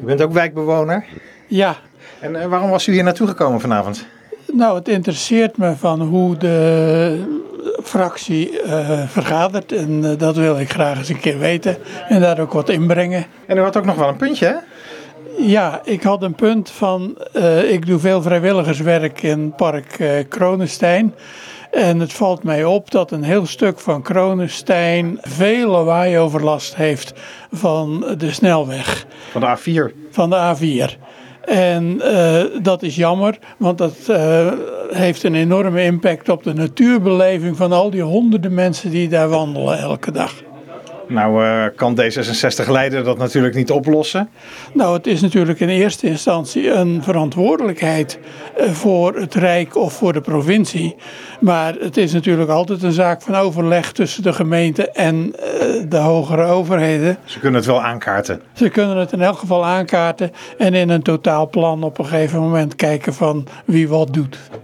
U bent ook wijkbewoner. Ja, En eh, waarom was u hier naartoe gekomen vanavond? nou het interesseert me van hoe de fractie eh, vergadert en eh, dat wil ik graag eens een keer weten en daar ook wat inbrengen. En u had ook nog wel een puntje, hè? Ja, ik had een punt van, eh, ik doe veel vrijwilligerswerk in Park eh Kronenstein. En het valt mij op dat een heel stuk van Kronenstein veel lawaai-overlast heeft van de snelweg. Van de A4. van de A4. En eh, dat is jammer, want dat eh, heeft een enorme impact op de natuurbeleving van al die honderden mensen die daar wandelen elke dag. Nou eh, kan D66-leider dat natuurlijk niet oplossen. Nou, het is natuurlijk in eerste instantie een verantwoordelijkheid eh, voor het Rijk of voor de provincie. Maar het is natuurlijk altijd een zaak van overleg tussen de gemeente en eh, de hogere overheden. Ze kunnen het wel aankaarten. Ze kunnen het in elk geval aankaarten en in een totaalplan op een gegeven moment kijken van wie wat doet.